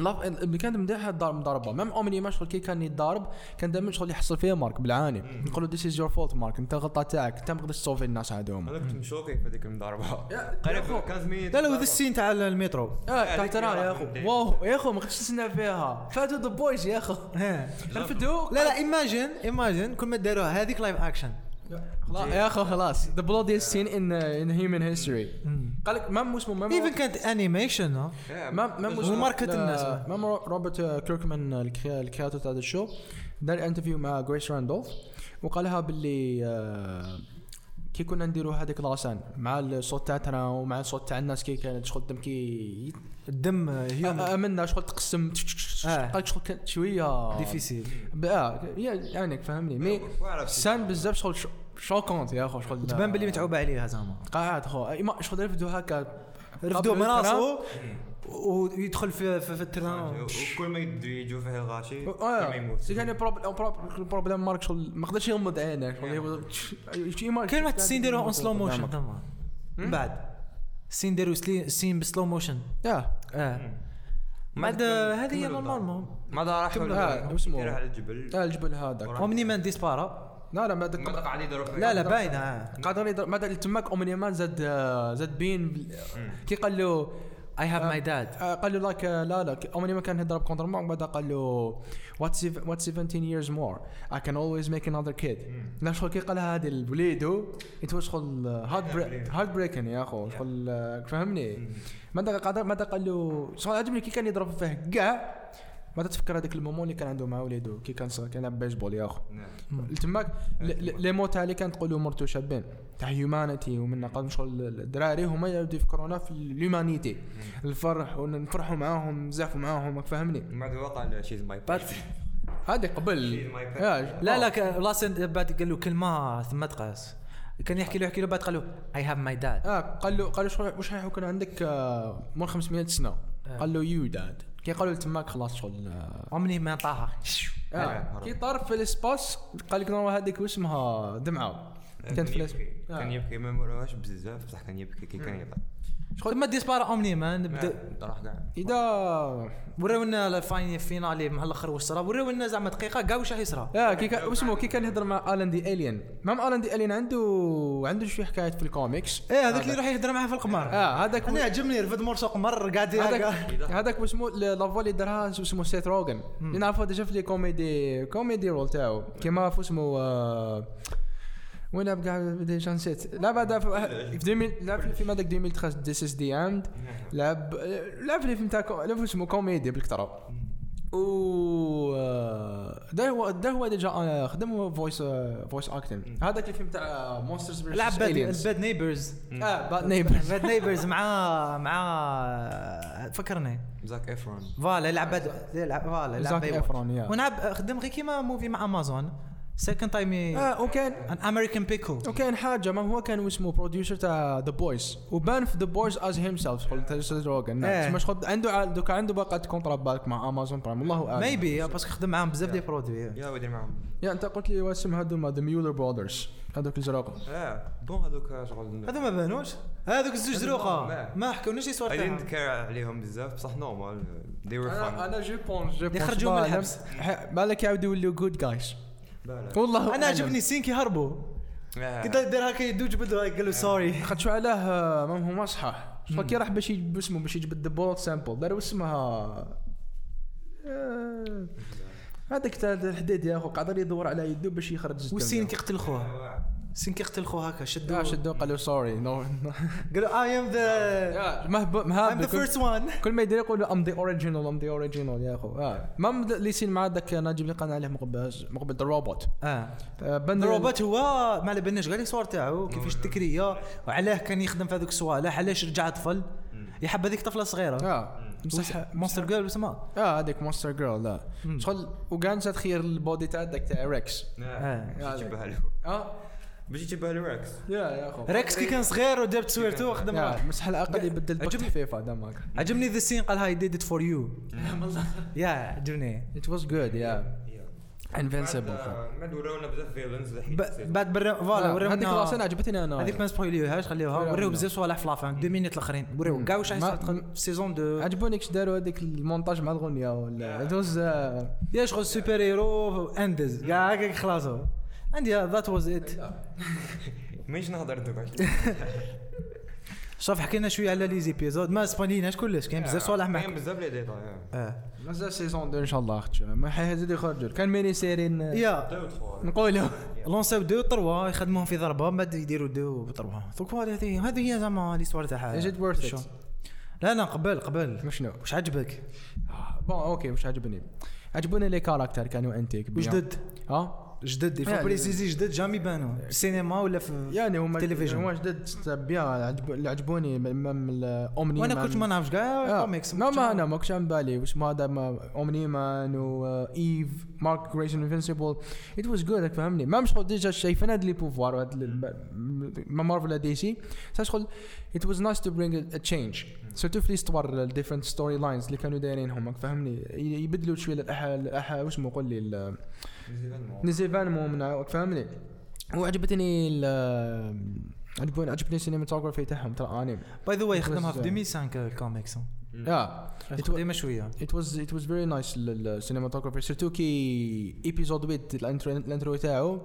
لاف اللي كانت مديحه الدار مضاربه ميم اومني ما شغل كي كان يتضارب كان دائما شغل يحصل فيه مارك بالعاني يقول له ذيس از يور فولت مارك انت غلطه تاعك انت ما تقدرش تصوفي الناس هذوما هذاك مشوكي في هذيك المضاربه يا- قريب كان زميل لا لا وذا السين تاع المترو اه تحت هذيك راه يا يا اخو أخي. واو يا اخو ما خصش نستنى فيها فاتوا ذا بويز يا اخو ها. (laughs) رفدوا لا لا ايماجين ايماجين كل ما داروها هذيك لايف اكشن خلاص يا اخو خلاص ذا بلودي سين ان ان هيومن هيستوري قال لك مام اسمه مام ايفن كانت انيميشن ما ما مش وماركت الناس. ما مو- روبرت كيركمان الكري- الكرياتور آه، تاع هذا الشو دار انترفيو مع جريس راندولف وقالها باللي آه، كي كنا نديروا هذيك لاسان مع الصوت تاعتنا ومع الصوت تاع الناس كي كانت شغل دم كي الدم آه، هيومن امنا شغل تقسم آه. قال لك شغل كانت شويه ديفيسيل ب- اه يا- يعني فهمني مي سان بزاف شغل شو- شوكونت يا اخو شغل تبان باللي متعوب عليها زعما قاعد خو إيما- شغل رفدوا هكا رفدوه من قبل راسه ويدخل في في, في آه، التران وكل ما آه. يدو- يجوا فيه الغاشي كل ما اه يموت سي كان بروبليم بروبليم مارك شغل ما قدرش يغمض عينه يعني. شغل يبغى- شي مارك كاين واحد السين داروها اون سلو موشن تما من بعد السين داروا سلي- السين بسلو موشن اه اه بعد هذه هي نورمالمون ما راح آه، اسمه. راح على الجبل آه، الجبل هذاك اومني مان ديسبارا لا لا ما داك ما قاعد يدور لا لا باينه آه. قادر يضرب- ما داك اللي تماك اومنيمان زاد آه، زاد بين بال- كي قال له I have my dad. آه، قال له لك آه، لا لا اول ما كان هضرب كونتر معه بعدها قال له واتس واتس 17 years more I can always make another kid لا شغل كي قالها هذه الوليدو انت واش شغل هارد هارد بريكن يا اخو شغل آه، فهمني بعدها قال بعدها قال له شغل عجبني كي كان يضرب فيه كاع بعدها تفكر هذاك المومون اللي كان عنده مع وليدو كي كان صغير كان يلعب بيسبول يا اخو نعم. تماك ل- ل- لي موت اللي كانت تقول مرتو شابين تاع هيومانيتي ومن قال شغل الدراري هما يبدو يفكرونا في الهيومانيتي الفرح ونفرحوا معاهم نزعفوا معاهم راك فاهمني من بعد وقع شيز ماي But هذا قبل She's my Oh. pet. يا- لا لا ك- لاسن بعد قال له كلمه ثم تقاس كان يحكي له يحكي له بعد قال له I have my dad. اه قال له قال له شو- واش راح يكون عندك آه، مور 500 سنه آه. قال له يو داد كي قالوا له تماك خلاص شغل آه، عمري ما طاها آه، هرب. كي طار في الاسباس قال لك نورمال هذيك واش اسمها دمعه كانت في الاسباس يبكي كان آه. يبكي ما مروش بزاف بصح كان يبكي كي كان يطلع ثم ديسبار عمري ما نبدا نعم، راح كاع اذا وراونا الفاين- فينالي مع الاخر واش صرا وراونا زعما دقيقه كاع واش راح يصرى اه كي كان اسمه كي كان يهضر مع الان دي الين مام الان دي الين عنده عنده شويه حكايات في الكوميكس ايه هذاك اللي راح يهدر معاه في القمر اه هذاك انا عجبني رفد مرسق مر قاعد هذاك إيه، قاعد- هذاك اسمه لافوا اللي درها شو اسمه سيت روغن إيه، اللي نعرفه ديجا في لي كوميدي كوميدي رول تاعو كيما في اسمه آه، وين بقى ديجا نسيت لا بعد في واحد- في 2000 لعب في الفيلم هذاك 2013 ديس اس دي اند لعب لعب في الفيلم تاع كو- لعب في اسمه كوميدي بالكثره و آه، ده هو ده هو ديجا آه، خدم هو فويس فويس اكتنج هذاك الفيلم تاع آه، مونسترز لعب باد نيبرز اه باد نيبر باد نيبرز مع مع فكرني زاك افرون فوالا يلعب باد يلعب فوالا يلعب زاك باي إفرون، يا. واتش. ونلعب خدم غير كيما موفي مع امازون سكند تايم ان اه وكان امريكان بيكو وكان حاجه ما هو كان اسمه بروديوسر تاع ذا بويز وبان في ذا بويز از هيم سيلف شغل تاع روجن إيه. مش خد عنده عال- دوكا عنده باقة كونترا بالك مع امازون برايم والله اعلم ميبي باسكو خدم معاهم بزاف دي برودوي يا ودي معاهم يعني انت قلت لي واسم هذوما ذا ميولر برودرز هذوك الزراقه اه بون هذوك شغل هذا ما بانوش هذوك الزوج زروقه ما. أيوة. ما حكوناش I يصور didn't care عليهم بزاف بصح نورمال they were انا fun انا جو بونس جو بونس يخرجوا من بالك- الحبس. ح- بالك يعاودوا يوليو جود جايز لا لا والله انا أعلم. عجبني سين كيهربوا آه. كي دار هكا يدوج بده قال له سوري خد شو علاه آه، ما هو ما صحح شو كي راح باش يجيب اسمه باش يجيب الدبولت سامبل دار اسمها آه، هذاك تاع الحديد يا اخو قاعد يدور على يده باش يخرج الدم. والسين كيقتل خوه سين كيقتل خوه هكا شدوه لا شدوا قالوا سوري نو قال له اي ام ذا مهب I'm the مهب first one كل ما يدير يقول ام ذا اوريجينال ام ذا اوريجينال يا اخو اه ما مد- اللي يصير مع ذاك نجيب اللي قال عليه مقبل مقبل ذا روبوت اه آه، بن الروبوت هو ما على بالناش كاع الصور تاعو كيفاش التكريه وعلاه كان يخدم في هذوك الصوالح علاش رجع طفل Mm. يحب هذيك طفله صغيره اه بصح مونستر جيرل وسما اه هذيك مونستر جيرل لا Hmm. شغل وكان تخير البودي تاع ذاك تاع ريكس آه. آه. باش يجيبها له اه باش يجيبها له ريكس يا يا اخو ريكس كي كان صغير ودار تصويرته خدم يا، راه. بس على الاقل يبدل بكت عجبني. حفيفه دمك عجبني ذا سين قال هاي ديد ات فور يو يا عجبني ات واز جود يا آه، انفنسبل بعد ورونا بزاف فيلنز ب- بعد برا آه، فوالا هذيك راسين ورونا عجبتني انا هذيك ما نسبويليوهاش خليوها ورونا. وراو بزاف صوالح في لافان دو مينيت الاخرين وراو كاع واش راح Mm. ما- Ah. يصير في السيزون دو عجبوني كش داروا هذيك المونتاج مع الاغنيه ولا آه، ات واز يا شغل سوبر هيرو اندز كاع هكاك خلاصو عندي ذات واز ات أيوة. مانيش نهضر دابا شوف حكينا شويه على لي زيبيزود ما سبانيناش كلش كاين (laughs) بزاف صوالح كاين معك بزاف لي ديتاي اه مازال سيزون 2 ان شاء الله اختي ما حيزيد يخرجوا كان ميني سيرين آه. يا نقولوا لونساو دو تروا يخدموهم في ضربه ما يديروا دو تروا دوك هذه هذه هذه هي زعما ليستوار تاعها Is it worth it? شو؟ لا لا قبل قبل شنو واش عجبك؟ بون اوكي واش عجبني عجبوني لي كاركتر كانوا انتيك بيان. وجدد ها جدد يعني- يفو بريسيزي جدد جامي بانو في السينما ولا في يعني هما التلفزيون. هما جدد بيان عجبو- اللي عجبوني مام الاومني وانا مان. كنت ما نعرفش كاع آه. كوميكس لا ما انا ما كنتش عم بالي وش ما هذا ما آه، اومني مان وايف مارك جريسون انفنسبل ات واز جود فهمني ما مش ديجا شايفين هاد لي بوفوار وهاد ال- ما مارفل دي سي بصح شغل ات واز نايس تو برينج ا تشينج سيرتو في الاستوار الديفرنت ستوري لاينز اللي كانوا دايرين هما فهمني ي- يبدلوا شويه الأح- الأح- واش اسمه قول لي ال- نزيفان مو من فهمني وعجبتني ال- عجبوني عجبتني السينماتوجرافي تاعهم ترى انيم باي ذا واي It was- خدمها في 2005 الكوميكس يا ديما شويه It was it was very nice ال- ال- cinematography سيرتو كي ايبيزود ويت الانترو الانترو تاعو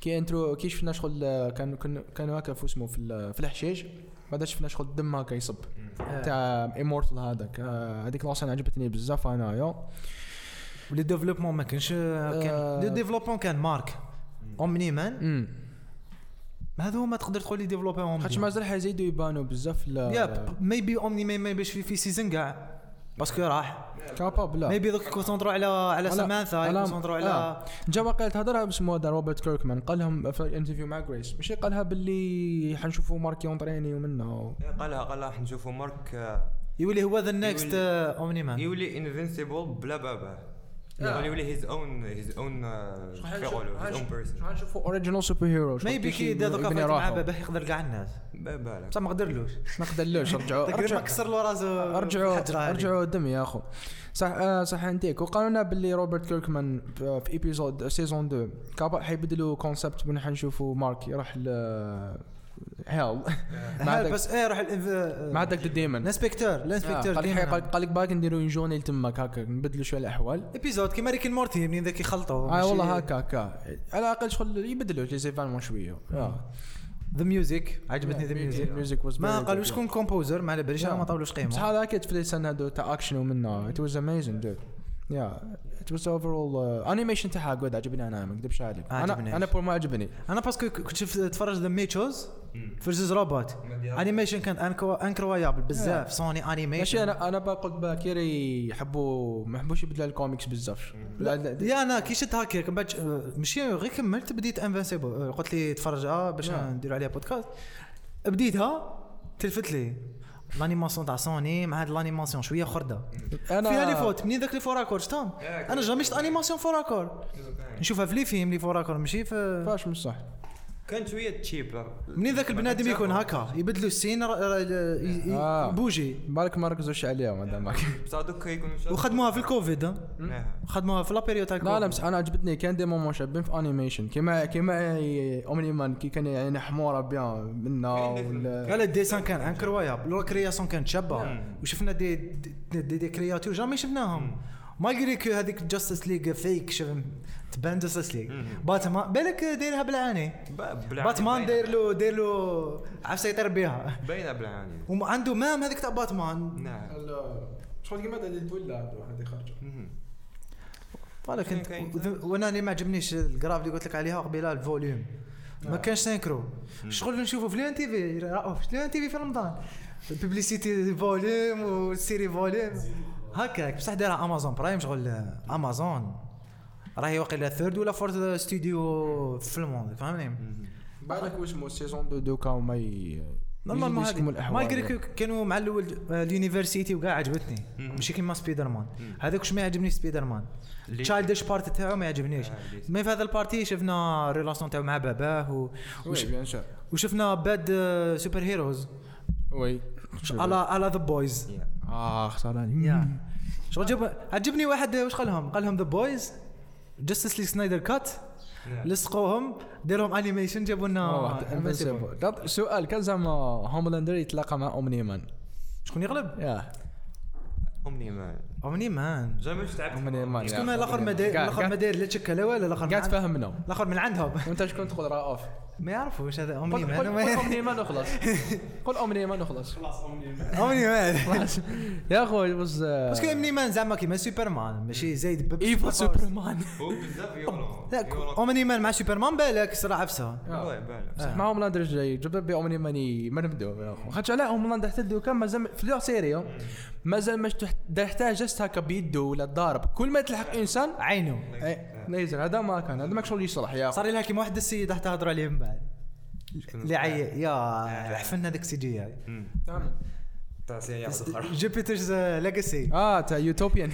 كي انترو كي شفنا شغل آه، كان كان- كانوا هكا في اسمه في ال- في الحشيش بعد شفنا شغل الدم هكا يصب Eh. تاع امورتال هذاك آه، هذيك لوسان عجبتني بزاف انايا لي ديفلوبمون ما كانش آه، كان آه. لي ديفلوبمون كان مارك اومني مان امم هذا هو ما تقدر تقول لي ديفلوبر اومني خاطش آه. مازال حيزيدوا يبانوا بزاف يا ميبي اومني ما يبانش في في سيزون كاع باسكو راح كابابل لا ميبي دوك يكونسونطرو على على على- سمانثا على- يكونسونطرو على آه. جا وقيله تهضرها باسمه هذا روبرت كيركمان قال لهم في الانترفيو مع غريس ماشي قالها باللي حنشوفوا مارك يونطريني ومنها قالها قالها راح نشوفوا مارك آه، يولي هو آه، ذا نيكست يولي- اومني مان يولي انفنسيبل بلا بابا يعني آه. يولي هيز اون هيز اون كيقولوا هيز اون بيرسون حنشوفوا اوريجينال سوبر هيرو ميبي كي دا دوكا فايت مع باباه يقدر كاع الناس بالك بصح ما قدرلوش ما قدرلوش رجعوا تقدر ما رجعوا- كسر له راسه ارجعوا الحجرة هذه. ارجعوا دم يا اخو صح آه صح انتيك وقالوا لنا باللي روبرت كيركمان في ايبيزود سيزون 2 كابا حيبدلوا كونسبت من حنشوفوا مارك يروح ل (laughs) هيل مع هل داك بس ايه روح الإنف- مع داك الديمون الانسبكتور الانسبكتور آه، قال لك ديما. قال لك باك نديروا جوني لتمك هكا نبدلوا شويه الاحوال ايبيزود كيما ريكن مورتي منين ذاك يخلطوا اه والله هكا هكا على الاقل شغل يبدلوا لي زيفالمون شويه آه. ذا ميوزك عجبتني ذا ميوزك ميوزك ما قالوا شكون كومبوزر ما على باليش انا ما طولوش بس قيمه هذا اكيد في السنه هذو تاع اكشن ومنه ات واز اميزنج دود يا ات واز اوفرول انيميشن uh, تاعها جود عجبني انا ما نكذبش عليك عجبني. انا انا بور ما عجبني انا باسكو كنت شفت تفرج ذا ميتشوز Mm. فيرسز روبوت انيميشن كان انكوا- انكرويابل بزاف سوني ماشي انيميشن انا انا بقول باكيري يحبوا ما يحبوش يبدلوا الكوميكس بزاف لا لا لا. يا انا كي شفت هكا كم بعد- آه، مشي غير كملت بديت انفنسيبل قلت لي تفرجها باش نعم. نديروا عليها بودكاست بديتها تلفت لي الانيماسيون تاع سوني مع هاد الانيماسيون شويه خرده Mm. انا فيها لي فوت منين ذاك لي فوراكور شفتهم ياك. انا جامي شفت انيماسيون فوراكور نشوفها في لي فيلم لي فوراكور ماشي في فاش مش صح كان شويه تشيب منين ذاك البنادم يكون هكا يبدلوا السين را- را- ي- ي- آه. بوجي بالك ما ركزوش عليها ما دام هكا. بصح دوك يكون وخدموها في الكوفيد ها. نعم. خدموها في لابيريود تاع لا لا الكوفيد بس انا عجبتني كان دي مومون شابين في انيميشن كيما كيما اومني مان كي كان يعني حموره بيان منا ولا لا لا الديسان كان انكرويابل لو كرياسيون كانت شابه Hmm. مم. وشفنا دي دي, دي, دي كرياتور جامي شفناهم مالغري كو هذيك جاستس ليغ فيك شوف تبان جاستس ليغ Hmm. مم. باتمان بالك دايرها بالعاني باتمان داير له داير له عفسه يطير بها باينه بالعاني وعنده مام هذيك تاع باتمان نعم شغل كيما اللي تولى هذه خرجه مهم. بالك انت كاين- وذ- وانا اللي ما عجبنيش الجراف اللي قلت لك عليها قبيله الفوليوم آه. ما كانش سينكرو شغل نشوفه في لون تي في رأوف في لون تي في في رمضان الببليسيتي فوليوم والسيري فوليوم هكاك بصح دايرها امازون برايم شغل امازون راهي واقيلا ثيرد ولا فورث استوديو في الموند فهمني بالك واسمه سيزون دو دو كاو ما ي- نورمالمون يجيش هذه لكم الاحوال مالغري كو كانوا مع الاول اليونيفرسيتي وكاع عجبتني ماشي كيما سبايدر مان هذاك واش ما يعجبني سبايدر مان ليه؟ تشايلدش بارت تاعو ما يعجبنيش آه، ليه؟ مي في هذا البارتي شفنا ريلاسيون تاعو مع باباه و... وش... وي بيان سور وشفنا باد آه، سوبر هيروز وي على على ذا بويز يا. اه خسراني شغل جاب عجبني واحد آه، واش قال لهم قال لهم ذا بويز جاستس لي سنايدر كات نعم. لصقوهم ديرهم انيميشن جابوا لنا Invincible. طب سؤال كان زعما هوملاندر يتلاقى مع اومني مان شكون يغلب؟ يا امني مان اومني مان جامي شفت لعبت اومني مان شكون الاخر ما داير قاعد- الاخر ما قاعد- داير لا تشكى لا والو الاخر قاعد من عند- تفهمنا الاخر من عندهم (laughs) وانت شكون تقول رأوف ما يعرفوش هذا قل امني قل- قل مان اومني مان وخلاص قل اومني مان وخلاص (laughs) امني مان (laughs) خلاص. يا اخوي بس آه، باسكو امني مان زعما كيما سوبرمان ماشي زايد بب- ايفا سوبرمان هو بزاف يورو (laughs) لا آه. ك- امني مان مع سوبرمان بالك صراع عفسه والله بالك مع هوملاندر جاي جبت بي اومني ماني ما نبداو يا اخو خاطش على هوملاندر حتى دوكا مازال في لور سيريو مازال ما تحتاج جست هكا بيده ولا ضارب كل ما تلحق انسان عينه اي نيزر هذا ما كان هذا ماك شغل يصلح يا اخو صار لها كيما واحد السيد حتى هضروا عليه من بعد اللي عي يا حفلنا هذاك السي جي اي تعسيا (laughs) ياخذ اخر جوبيترز آه، ليجاسي اه تاع يوتوبيان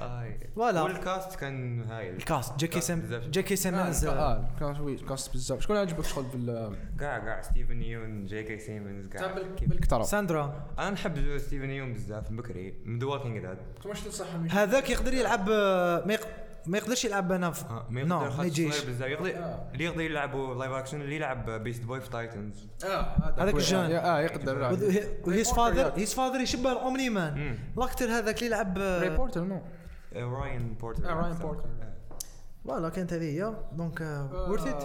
آه، فوالا. والكاست كان هايل الكاست جاكي سم بزاف. جاكي آه، سيمنز اه كان شوي كاست بزاف شكون عجبك شغل بال كاع كاع ستيفن يون جي كي سيمونز كاع كيف- بالكثره ساندرا انا نحب ستيفن يون بزاف من بكري من ذا ووكينج ديد واش تنصحهم هذاك يقدر يلعب آه، ما يق- ما يقدرش يلعب انا في- آه، نو، ما يقدر نعم، ما خاص يجيش صغير بزاف يقدر آه. اللي يقدر يلعبوا لايف اكشن اللي يلعب بيست بوي في تايتنز آه، هذاك الجان. اه يقدر هيز فاذر هيز فاذر يشبه الاومني مان مم. لاكتر هذاك اللي يلعب آه، ريبورتر نو راين بورتر آه، راين بورتر. آه. فوالا كانت هذه هي euh, دونك آه. ورث ات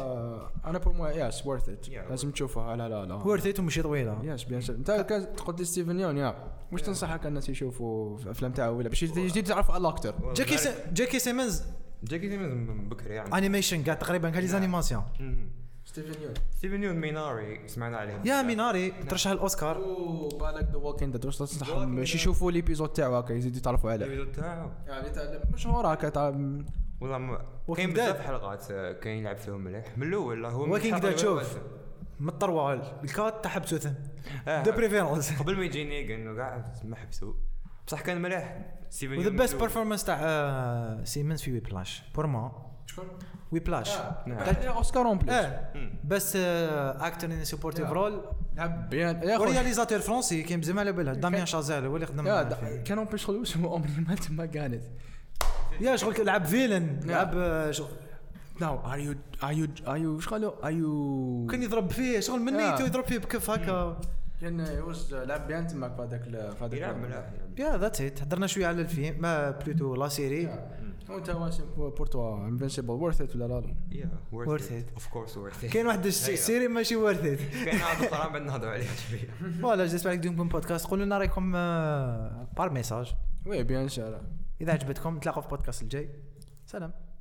انا بور موا يس ورث ات Yeah, worth لازم تشوفها لا لا لا ورث ات ومشي طويله يس بيان سير انت كان تقول لي ستيفن يون يا واش تنصحك الناس يشوفوا في افلام تاعو ولا باش يجي تعرفوا على الاكتر جاكي س- جاكي سيمنز جاكي سيمونز من بكري يعني انيميشن قاع تقريبا كاع لي نعم. زانيماسيون مهم. ستيفن يون ستيفن يون ميناري سمعنا عليه يا ميناري نعم. ترشح الاوسكار او بالك ذا ووكينج ديد واش تنصحهم Walking باش Dead. يشوفوا ليبيزود تاعو هكا يزيدوا يتعرفوا عليه الفيديو تاعه يعني تاع- مشهور هكا تاع والله ما Walking كاين بزاف Dead. حلقات آه، كاين لعب فيهم مليح من الاول لا، هو من Walking الحلقة Dead، الأولى شوف. بس. من الطروال الكات تاع حبسوثن آه. دو (laughs) بريفيرونس قبل ما يجي نيجن وكاع ما حبسوا بصح كان مليح ستيفن وذا يون بيست من الأول. بيرفورمانس تاع آه، سيمنز في وي بلاش بور ما شكون؟ وي بلاش نعم. إيه. تاع اوسكار اون بليس اه مم. بس اكتر ان سبورتيف رول لعب نعم. بيان يا خويا ورياليزاتور فرونسي كاين بزاف على بالها داميان شازيل هو اللي خدم يا معاه دا- الفيلم. كان اون بيش خلوش هو عمري ما تما كانت يا شغل لعب فيلن لعب آه، شغل ناو ار يو ار يو ار يو شغل ار يو كان يضرب فيه شغل من نيتو آه. يضرب فيه بكف هكا كان يوز لعب بيان تماك في هذاك ال- في هذاك يلعب ال- مليح يلعب. يا ذاتس ات هضرنا شويه على الفيلم ما بلوتو لا سيري يا. وانت واش بور توا انفنسيبل ورث ات ولا لا لا يا Worth ورث ات اوف كورس ورث ات كاين واحد السيري ماشي (laughs) ورث كاين عاد الطعام بعد نهضروا عليها شويه فوالا جلست معك دوم بودكاست قولوا لنا رايكم بار ميساج وي بيان سير اذا عجبتكم نتلاقوا في البودكاست الجاي سلام